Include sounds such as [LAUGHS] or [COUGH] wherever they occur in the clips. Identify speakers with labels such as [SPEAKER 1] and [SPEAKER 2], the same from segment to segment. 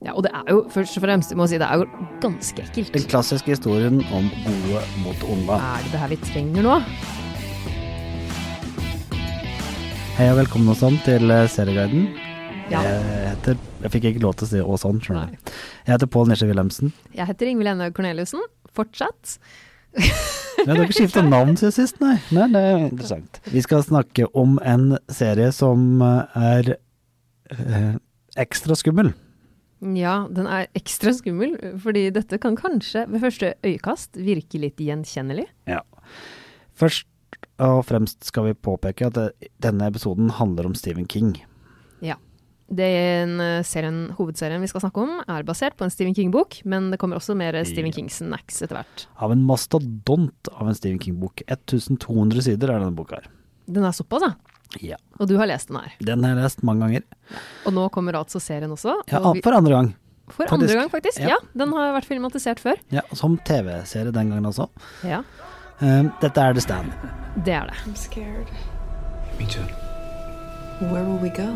[SPEAKER 1] Ja, og det er jo først og fremst, jeg må si, det er jo ganske ekkelt.
[SPEAKER 2] Den klassiske historien om gode mot onde.
[SPEAKER 1] Er det det her vi trenger nå?
[SPEAKER 2] Hei og velkommen og sånn til eh, Serieguiden.
[SPEAKER 1] Ja.
[SPEAKER 2] Jeg heter Jeg fikk ikke lov til å si og sånn, skjønner
[SPEAKER 1] Nei.
[SPEAKER 2] du. Jeg heter Pål Nisje Wilhelmsen.
[SPEAKER 1] Jeg heter Ingvild Enne Corneliussen. Fortsatt.
[SPEAKER 2] Ja, du har ikke
[SPEAKER 1] [LAUGHS]
[SPEAKER 2] skifta navn siden sist, nei. nei. Det er interessant. Vi skal snakke om en serie som eh, er eh, ekstra skummel.
[SPEAKER 1] Ja, den er ekstra skummel, fordi dette kan kanskje ved første øyekast virke litt gjenkjennelig.
[SPEAKER 2] Ja. Først og fremst skal vi påpeke at eh, denne episoden handler om Stephen King.
[SPEAKER 1] Ja. Den eh, serien, hovedserien vi skal snakke om, er basert på en Stephen King-bok, men det kommer også mer Stephen
[SPEAKER 2] Ja.
[SPEAKER 1] King-snacks etter hvert.
[SPEAKER 2] Av en mastodont av en Stephen King-bok. 1200 sider er denne boka her.
[SPEAKER 1] Den er såpass, da.
[SPEAKER 2] Ja.
[SPEAKER 1] Og du har lest den her.
[SPEAKER 2] Den har jeg lest mange ganger.
[SPEAKER 1] Og nå kommer altså serien også.
[SPEAKER 2] Ja,
[SPEAKER 1] og vi,
[SPEAKER 2] for andre gang.
[SPEAKER 1] for
[SPEAKER 2] faktisk.
[SPEAKER 1] andre gang, faktisk.
[SPEAKER 2] Ja.
[SPEAKER 1] Ja. Den har vært filmatisert før.
[SPEAKER 2] Ja, Som TV-serie den gangen også.
[SPEAKER 1] Ja,
[SPEAKER 2] Eh, dette er The Stand.
[SPEAKER 1] det er det.
[SPEAKER 3] I'm scared.
[SPEAKER 4] Me too.
[SPEAKER 3] Where will we go?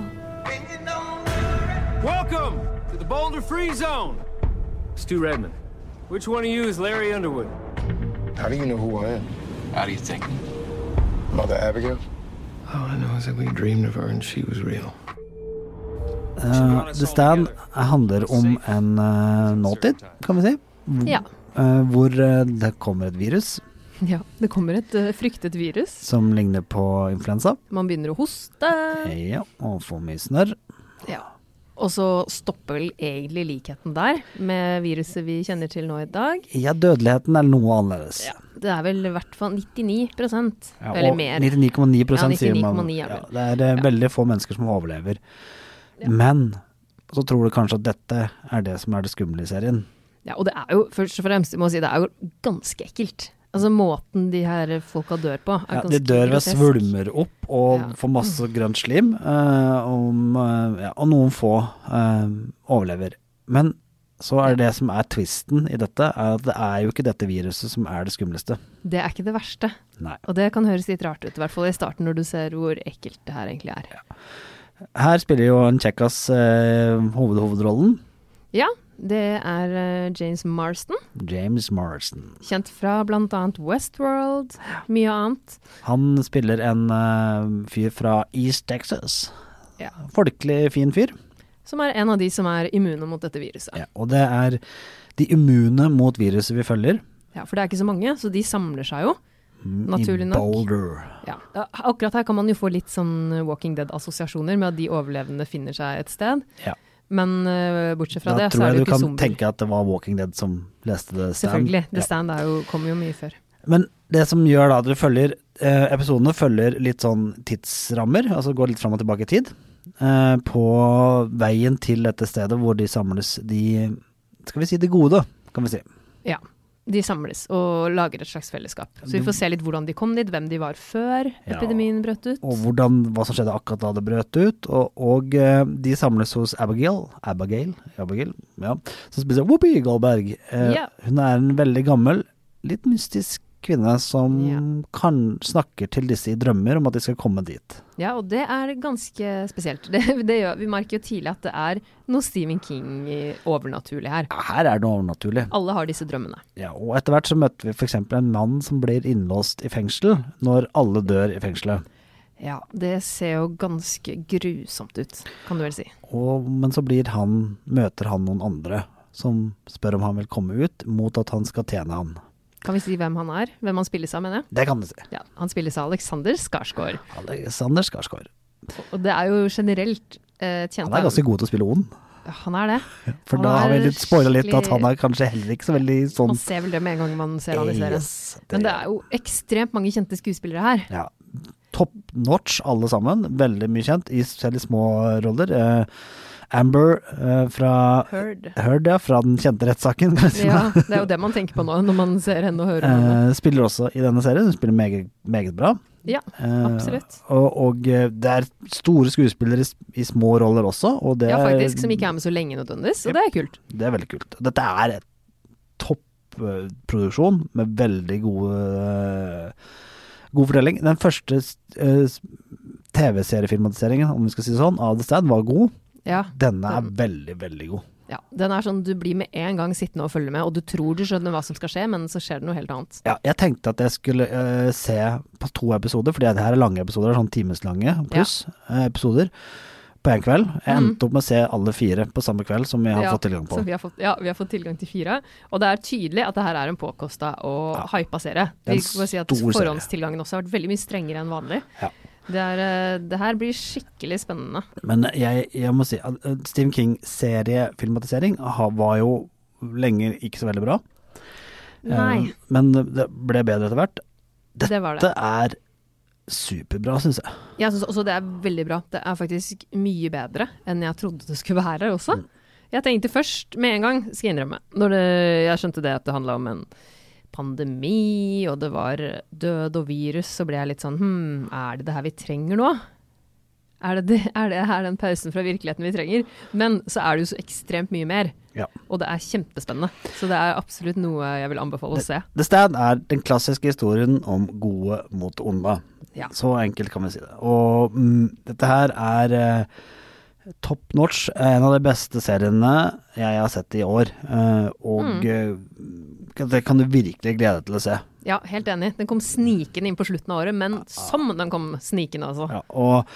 [SPEAKER 5] Welcome to the Boulder Free Zone. Stu Redman. Which one of you is Larry Underwood?
[SPEAKER 6] How do you know who I am?
[SPEAKER 4] How do you think?
[SPEAKER 6] Mother Abigail?
[SPEAKER 4] All I know is that we dreamed of her and she was real.
[SPEAKER 2] Eh, The Stand handler om en eh, nåtid, kan vi si. Hvor-
[SPEAKER 1] Ja.
[SPEAKER 2] eh, hvor eh, det kommer et virus
[SPEAKER 1] [LAUGHS] ja. Det kommer et eh, fryktet virus.
[SPEAKER 2] som ligner på influensa.
[SPEAKER 1] Man begynner å hoste.
[SPEAKER 2] Ja, og får mye snørr.
[SPEAKER 1] Ja. Og så stopper vel egentlig likheten der, med viruset vi kjenner til nå i dag.
[SPEAKER 2] Ja, dødeligheten er noe annerledes.
[SPEAKER 1] Det er vel i hvert fall 99
[SPEAKER 2] Ja,
[SPEAKER 1] eller
[SPEAKER 2] og
[SPEAKER 1] mer.
[SPEAKER 2] 99,9
[SPEAKER 1] Ja,
[SPEAKER 2] sier man.
[SPEAKER 1] 99,9 er
[SPEAKER 2] Ja,
[SPEAKER 1] det
[SPEAKER 2] det er eh, veldig få mennesker som overlever. Men så tror du kanskje at dette er det som er det skumle i serien.
[SPEAKER 1] Ja, og det er jo først og fremst, jeg må si, det er jo ganske ekkelt. Altså måten de her folka dør på, er
[SPEAKER 2] Ja,
[SPEAKER 1] ganske
[SPEAKER 2] de dør ved
[SPEAKER 1] grotesk.
[SPEAKER 2] svulmer opp og
[SPEAKER 1] Ja. Mm.
[SPEAKER 2] får masse grønt slim, eh, om, eh, ja, og noen få eh, overlever. Men så er det som er twisten i dette, er at det er jo ikke dette viruset som er det skumleste.
[SPEAKER 1] Det er ikke det verste.
[SPEAKER 2] Nei.
[SPEAKER 1] Og det kan høres litt rart ut, i hvert fall i starten når du ser hvor ekkelt det her egentlig er.
[SPEAKER 2] Her spiller jo en kjekkas eh, hovedhovedrollen,
[SPEAKER 1] Ja, det er eh, James Marston,
[SPEAKER 2] James Morrison.
[SPEAKER 1] kjent fra blant annet Westworld, mye annet.
[SPEAKER 2] Han spiller en eh, fyr fra East Texas.
[SPEAKER 1] Ja.
[SPEAKER 2] Folkelig fin fyr.
[SPEAKER 1] Som er en av de som er immune mot dette viruset.
[SPEAKER 2] Ja, og det er de immune mot viruset vi følger. Mm,
[SPEAKER 1] Ja, for det er ikke så mange, så de samler seg jo. Naturlig
[SPEAKER 2] I
[SPEAKER 1] nok.
[SPEAKER 2] Boulder.
[SPEAKER 1] Ja. Akkurat her kan man jo få litt sånn Walking Dead-assosiasjoner med at de overlevende finner seg et sted.
[SPEAKER 2] Ja.
[SPEAKER 1] Men eh, bortsett fra
[SPEAKER 2] da
[SPEAKER 1] det, så
[SPEAKER 2] tror
[SPEAKER 1] er det
[SPEAKER 2] jeg
[SPEAKER 1] jo
[SPEAKER 2] du kan
[SPEAKER 1] ikke zombier.
[SPEAKER 2] tenke at det var Walking Dead som leste The Stand.
[SPEAKER 1] Selvfølgelig. The
[SPEAKER 2] Ja.
[SPEAKER 1] Stand er jo, kommer jo mye før.
[SPEAKER 2] Men det som gjør da at dere følger eh, Episodene følger litt sånn tidsrammer, altså går litt fram og tilbake i tid. Eh, på veien til dette stedet hvor de samles, de Skal vi si de gode, kan vi si.
[SPEAKER 1] Ja. De samles og lager et slags fellesskap. Så vi får se litt hvordan de kom dit, hvem de var før
[SPEAKER 2] Ja.
[SPEAKER 1] epidemien brøt ut.
[SPEAKER 2] Og hvordan, hva som skjedde akkurat da det brøt ut. Og, og eh, de samles hos Abigail, Abigail, Abigail ja, som spiser Whoopi Goldberg. Eh,
[SPEAKER 1] Ja.
[SPEAKER 2] Hun er en veldig gammel, litt mystisk kvinne som
[SPEAKER 1] Ja.
[SPEAKER 2] kan, snakker til disse i drømmer om at de skal komme dit.
[SPEAKER 1] Ja, og det er ganske spesielt. [LAUGHS] Det, det gjør, vi merker jo tidlig at det er noe Stephen King i- overnaturlig her.
[SPEAKER 2] Ja, her er det noe overnaturlig.
[SPEAKER 1] Alle har disse drømmene.
[SPEAKER 2] Ja, og etter hvert så møtte vi f.eks. en mann som blir innlåst i fengsel når alle dør i fengselet.
[SPEAKER 1] Ja, det ser jo ganske grusomt ut, kan du vel si.
[SPEAKER 2] Og, men så blir han, møter han noen andre som spør om han vil komme ut, mot at han skal tjene han.
[SPEAKER 1] Kan vi si hvem han er? Hvem han spilles av, mener jeg?
[SPEAKER 2] Det kan du si.
[SPEAKER 1] Ja, han spilles av Alexander Skarsgård.
[SPEAKER 2] Alexander Skarsgård.
[SPEAKER 1] Og det er jo generelt eh, tjent
[SPEAKER 2] Han er ganske god til å spille ond,
[SPEAKER 1] av Han er det.
[SPEAKER 2] for
[SPEAKER 1] Han
[SPEAKER 2] da har vi
[SPEAKER 1] er
[SPEAKER 2] litt spoila litt at
[SPEAKER 1] skikkelig-
[SPEAKER 2] han er kanskje heller ikke så veldig sånn
[SPEAKER 1] Man ser vel det med en gang man ser han i serien.
[SPEAKER 2] Yes,
[SPEAKER 1] Men det er jo ekstremt mange kjente skuespillere her.
[SPEAKER 2] ja, Top notch alle sammen, veldig mye kjent, i selv i små roller. Eh, Amber eh, fra
[SPEAKER 1] Heard.
[SPEAKER 2] Heard, ja, fra den kjente rettssaken. [LAUGHS] kan jeg si.
[SPEAKER 1] Ja, det er jo det man tenker på nå, når man ser henne og hører henne.
[SPEAKER 2] Eh, spiller også i denne serien, hun spiller meget, meget bra.
[SPEAKER 1] Ja,
[SPEAKER 2] Eh,
[SPEAKER 1] absolutt.
[SPEAKER 2] Og, og eh, det er store skuespillere i, s- i små roller også, og det,
[SPEAKER 1] Ja,
[SPEAKER 2] er-
[SPEAKER 1] faktisk. Som ikke er med så lenge nødvendigvis, og det er kult.
[SPEAKER 2] Det er veldig kult. Dette er et topproduksjon med veldig gode God fortelling. Den første eh, s- TV-seriefilmatiseringen, om vi skal si det sånn, av The Stand var god.
[SPEAKER 1] Ja.
[SPEAKER 2] Denne er
[SPEAKER 1] Den-
[SPEAKER 2] veldig, veldig god.
[SPEAKER 1] Ja, den er sånn du blir med en gang sittende og følge med, og du tror du skjønner hva som skal skje, men så skjer det noe helt annet.
[SPEAKER 2] Ja, jeg tenkte at jeg skulle eh, se på to episoder, fordi det her er lange episoder, sånn timeslange pluss eh, episoder, på én kveld. Jeg endte opp med å se alle fire på samme kveld som vi har
[SPEAKER 1] Mhm. ja,
[SPEAKER 2] fått tilgang på.
[SPEAKER 1] Så vi har fått, ja, vi har fått tilgang til fire. Og det er tydelig at det her er en påkosta og hypa serie.
[SPEAKER 2] Det er en
[SPEAKER 1] Vi må si at
[SPEAKER 2] stor serie.
[SPEAKER 1] forhåndstilgangen også har vært veldig mye strengere enn vanlig.
[SPEAKER 2] Ja.
[SPEAKER 1] Det, er, eh, det her blir skikkelig spennende.
[SPEAKER 2] Men jeg, jeg må si at eh, Stephen King-seriefilmatisering var jo lenge ikke så veldig bra. Eh,
[SPEAKER 1] Nei.
[SPEAKER 2] Men det ble bedre etter hvert. Dette
[SPEAKER 1] Det var det.
[SPEAKER 2] det. er superbra, syns jeg.
[SPEAKER 1] Jeg syns også det er veldig bra. Det er faktisk mye bedre enn jeg trodde det skulle være også. Jeg tenkte først, med en gang, skal jeg innrømme, når det, jeg skjønte det at det handla om en pandemi, og det var død og virus, så ble jeg litt sånn Hm, er det det her vi trenger nå? Er det, det, er det her den pausen fra virkeligheten vi trenger? Men så er det jo så ekstremt mye mer,
[SPEAKER 2] Ja.
[SPEAKER 1] og det er kjempespennende. Så det er absolutt noe jeg vil anbefale å se.
[SPEAKER 2] The Stand er den klassiske historien om gode mot onde.
[SPEAKER 1] Ja.
[SPEAKER 2] Så enkelt kan vi si det. Og mm, dette her er eh, top notch. En av de beste seriene jeg har sett i år. Eh, og
[SPEAKER 1] Mm.
[SPEAKER 2] eh, det kan du virkelig glede deg til å se.
[SPEAKER 1] Ja, helt enig. Den kom snikende inn på slutten av året, men som den kom snikende, altså.
[SPEAKER 2] Ja, og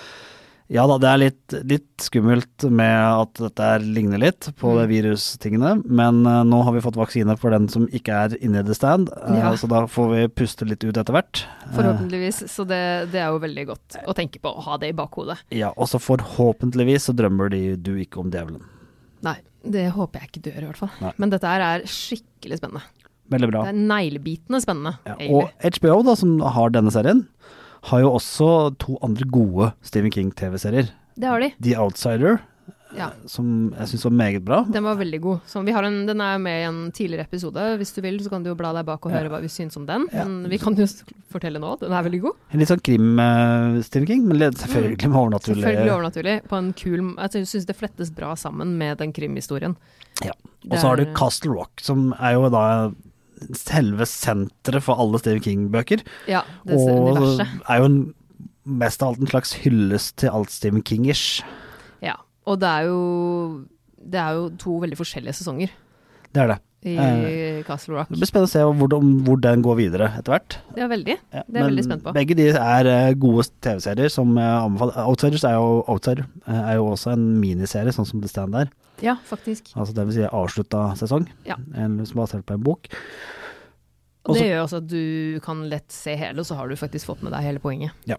[SPEAKER 2] ja da, det er litt, litt skummelt med at dette her ligner litt
[SPEAKER 1] Mm.
[SPEAKER 2] på de virustingene, men eh, nå har vi fått vaksine for den som ikke er inne i the stand, eh,
[SPEAKER 1] Ja.
[SPEAKER 2] så da får vi puste litt ut etter hvert. Eh,
[SPEAKER 1] Forhåpentligvis, så det, det er jo veldig godt å tenke på, å ha det i bakhodet.
[SPEAKER 2] Ja, og så forhåpentligvis så drømmer de, du ikke om djevelen.
[SPEAKER 1] Nei, det håper jeg ikke du gjør i hvert fall.
[SPEAKER 2] Nei.
[SPEAKER 1] Men dette her er skikkelig spennende.
[SPEAKER 2] Veldig bra.
[SPEAKER 1] Det er neglebitende spennende,
[SPEAKER 2] Ja,
[SPEAKER 1] egentlig.
[SPEAKER 2] og HBO, da, som har denne serien, har jo også to andre gode Stephen King-TV-serier.
[SPEAKER 1] Det har de.
[SPEAKER 2] The Outsider,
[SPEAKER 1] Ja.
[SPEAKER 2] som jeg syns var meget bra.
[SPEAKER 1] Den var veldig god. Så vi har en, den er jo med i en tidligere episode. Hvis du vil, så kan du jo bla deg bak og høre hva vi syns om den. Men vi kan jo s- fortelle nå, den er veldig god.
[SPEAKER 2] En Litt sånn krim-Stephen King, men litt- selvfølgelig med overnaturlig
[SPEAKER 1] Mm, Selvfølgelig overnaturlig. På en kul m- altså, Jeg syns det flettes bra sammen med den krimhistorien.
[SPEAKER 2] Ja. Og
[SPEAKER 1] Det
[SPEAKER 2] så har du
[SPEAKER 1] er-
[SPEAKER 2] Castle Rock, som er jo da selve senteret for alle Stephen King-bøker.
[SPEAKER 1] Ja, det s-
[SPEAKER 2] Og
[SPEAKER 1] universet.
[SPEAKER 2] er jo en, mest av alt en slags hyllest til alt Stephen King-ish.
[SPEAKER 1] Ja. Og det er jo Det er jo to veldig forskjellige sesonger
[SPEAKER 2] Det er det.
[SPEAKER 1] i
[SPEAKER 2] Eh,
[SPEAKER 1] Castle Rock.
[SPEAKER 2] Det blir spennende å se hvor, om hvor den går videre etter hvert.
[SPEAKER 1] Ja, veldig.
[SPEAKER 2] Ja,
[SPEAKER 1] Det er jeg
[SPEAKER 2] men
[SPEAKER 1] veldig spent på.
[SPEAKER 2] Begge de er eh, gode TV-serier som jeg anbefaler. Outsiders er jo, Outsider, eh, er jo også en miniserie, sånn som The Stand er.
[SPEAKER 1] Ja, faktisk.
[SPEAKER 2] Altså det vil si avslutta sesong,
[SPEAKER 1] Ja.
[SPEAKER 2] eller som er basert på en bok.
[SPEAKER 1] Og
[SPEAKER 2] Også-
[SPEAKER 1] det gjør også at du kan lett se hele, og så har du faktisk fått med deg hele poenget.
[SPEAKER 2] Ja.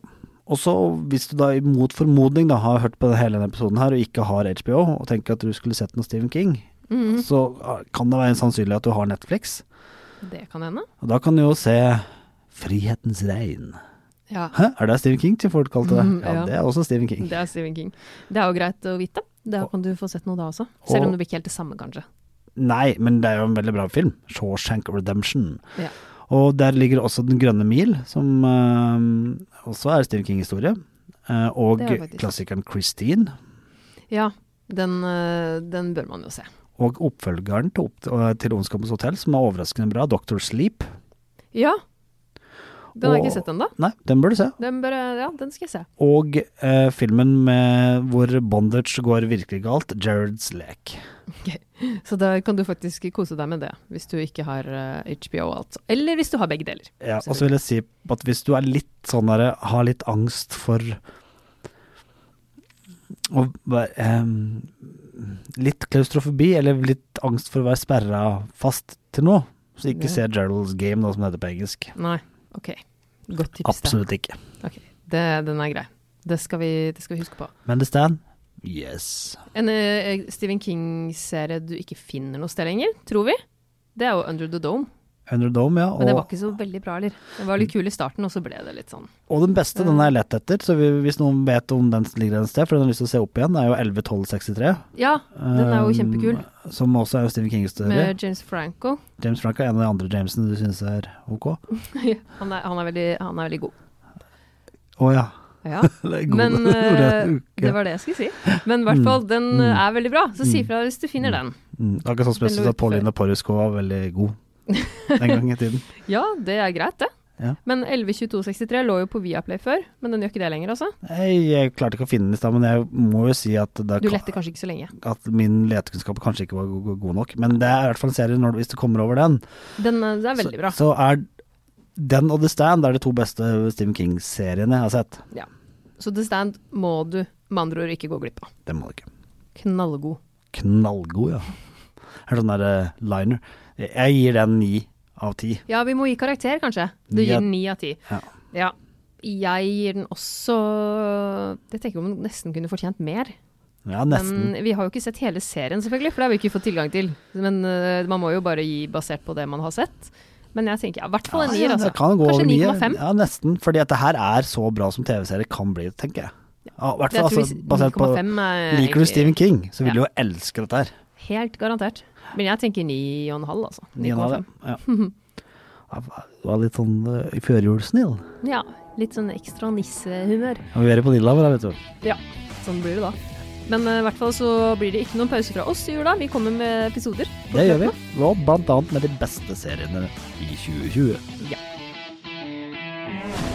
[SPEAKER 2] Og så hvis du da mot formodning da har hørt på den- hele denne episoden her og ikke har HBO, og tenker at du skulle sett noe Stephen King,
[SPEAKER 1] Mm. Mhm.
[SPEAKER 2] så ah, kan det være en sannsynlighet at du har Netflix.
[SPEAKER 1] Det kan hende.
[SPEAKER 2] Og da kan du jo se Frihetens regn.
[SPEAKER 1] Ja,
[SPEAKER 2] Hæ, er det Stephen King til folk kalte det?
[SPEAKER 1] Mhm,
[SPEAKER 2] ja,
[SPEAKER 1] ja.
[SPEAKER 2] det er også Stephen King.
[SPEAKER 1] det er Stephen King. Det er jo greit å vite. Da kan du få sett noe da også. Selv om det blir ikke helt det samme, kanskje.
[SPEAKER 2] Nei, men det er jo en veldig bra film. Shawshank Redemption.
[SPEAKER 1] Ja.
[SPEAKER 2] Og der ligger også Den grønne mil, som eh, også er Stephen King-historie. Eh, og
[SPEAKER 1] Det er det faktisk.
[SPEAKER 2] klassikeren Christine.
[SPEAKER 1] ja den, øh, den bør man jo se.
[SPEAKER 2] Og oppfølgeren til, opp, eh, til Ondskapens hotell, som er overraskende bra, Doctor Sleep.
[SPEAKER 1] Ja. Den har jeg
[SPEAKER 2] Og-
[SPEAKER 1] ikke sett ennå.
[SPEAKER 2] Nei, den bør du se.
[SPEAKER 1] Den, bør jeg- ja, den skal jeg se.
[SPEAKER 2] Og eh, filmen med hvor bondage går virkelig galt, Jared's lek.
[SPEAKER 1] Så da kan du faktisk kose deg med det, hvis du ikke har øh, HBO og alt. Eller hvis du har begge deler.
[SPEAKER 2] Ja, og så vil jeg si at hvis du er litt sånn der, har litt angst for å være em, Litt klaustrofobi, eller litt angst for å være sperra fast til noe, så ikke
[SPEAKER 1] Ja.
[SPEAKER 2] se Gerald's Game, da, som det heter på engelsk.
[SPEAKER 1] Nei, ok. Godt tips. det.
[SPEAKER 2] Absolutt ikke.
[SPEAKER 1] Ok, det, den er grei. Det skal vi, det skal vi huske på.
[SPEAKER 2] Men The Stand? Yes.
[SPEAKER 1] En eh, Stephen King-serie du ikke finner noe sted lenger, tror vi. Det er jo Under the Dome,
[SPEAKER 2] Under Dome, ja.
[SPEAKER 1] men det var
[SPEAKER 2] Og,
[SPEAKER 1] ikke så veldig bra heller. Det var litt kul i starten, og så ble det litt sånn.
[SPEAKER 2] og den beste, den er lett etter, så vi- hvis noen vet om den ligger et sted, for den har lyst til å se opp igjen, er jo 111263.
[SPEAKER 1] Ja, den er jo
[SPEAKER 2] em,
[SPEAKER 1] kjempekul,
[SPEAKER 2] Um, Som også er jo Stephen King-historie.
[SPEAKER 1] med James Franco.
[SPEAKER 2] James Frank er en av de andre Jamesene du syns er ok.
[SPEAKER 1] Han er, han er, veldig, han er veldig god.
[SPEAKER 2] Å ja.
[SPEAKER 1] Ja.
[SPEAKER 2] [LAUGHS] Det er [LAUGHS] Mm. god-
[SPEAKER 1] Men eh,
[SPEAKER 2] ordentlig.
[SPEAKER 1] det var det jeg skulle si. Men i hvert fall, den eh, er veldig bra, så si fra hvis du finner den.
[SPEAKER 2] Mm, Det er ikke sånn
[SPEAKER 1] Den lå
[SPEAKER 2] spesielt
[SPEAKER 1] ute
[SPEAKER 2] at
[SPEAKER 1] før. [LAUGHS]
[SPEAKER 2] Pauline Poruskova var veldig god den gang i tiden.
[SPEAKER 1] Ja, det er greit, det.
[SPEAKER 2] Ja.
[SPEAKER 1] Men 11.22.63 lå jo på Viaplay før, men den gjør ikke det lenger, altså.
[SPEAKER 2] Jeg, jeg klarte ikke å finne den i stad, men jeg må jo si at, det,
[SPEAKER 1] Du lette kanskje ikke så lenge.
[SPEAKER 2] at min letekunnskap kanskje ikke var go- go- god nok. Men det er i hvert fall en serie når, hvis du kommer over den.
[SPEAKER 1] Den eh, det er veldig bra.
[SPEAKER 2] Så, så er den og The Stand er de to beste Stephen King-seriene jeg har sett.
[SPEAKER 1] Så The Stand må du med andre ord ikke gå glipp av.
[SPEAKER 2] Den må du ikke.
[SPEAKER 1] Knallgod.
[SPEAKER 2] Knallgod, ja. Er sånn der eh, liner. Jeg gir den ni av ti.
[SPEAKER 1] Ja, vi må gi karakter, kanskje. Du
[SPEAKER 2] Ni
[SPEAKER 1] gir
[SPEAKER 2] av-
[SPEAKER 1] den ni av ti.
[SPEAKER 2] Ja.
[SPEAKER 1] Ja. Jeg gir den også Jeg tenker om den nesten kunne fortjent mer.
[SPEAKER 2] ja, nesten.
[SPEAKER 1] Men vi har jo ikke sett hele serien, selvfølgelig, for det har vi ikke fått tilgang til. Men øh, man må jo bare gi basert på det man har sett. Men jeg tenker ja, i hvert fall en
[SPEAKER 2] Ja,
[SPEAKER 1] nier,
[SPEAKER 2] ja,
[SPEAKER 1] altså.
[SPEAKER 2] det kan gå over
[SPEAKER 1] Kanskje
[SPEAKER 2] nier.
[SPEAKER 1] 9,5.
[SPEAKER 2] Ja, nesten. Fordi at det her er så bra som TV-serie kan bli, tenker jeg. Ja, i hvert
[SPEAKER 1] Jeg
[SPEAKER 2] fall
[SPEAKER 1] tror
[SPEAKER 2] altså, basert på
[SPEAKER 1] 9,5 er
[SPEAKER 2] Liker du
[SPEAKER 1] egentlig
[SPEAKER 2] Stephen King, så vil
[SPEAKER 1] Ja.
[SPEAKER 2] du jo elske dette her.
[SPEAKER 1] Helt garantert. Men jeg tenker 9,5, altså.
[SPEAKER 2] 9,5.
[SPEAKER 1] [LAUGHS] 9,5.
[SPEAKER 2] Ja. Det var litt sånn eh, i førjulsnill.
[SPEAKER 1] Ja. Litt sånn ekstra nissehumør.
[SPEAKER 2] Og vi er i Panilla, vet du.
[SPEAKER 1] Ja, sånn blir det da. Men øh, i hvert fall så blir det ikke noen pause fra oss i jula. Vi kommer med episoder.
[SPEAKER 2] Det gjør vi. Og blant annet med de beste seriene i 2020.
[SPEAKER 1] Ja.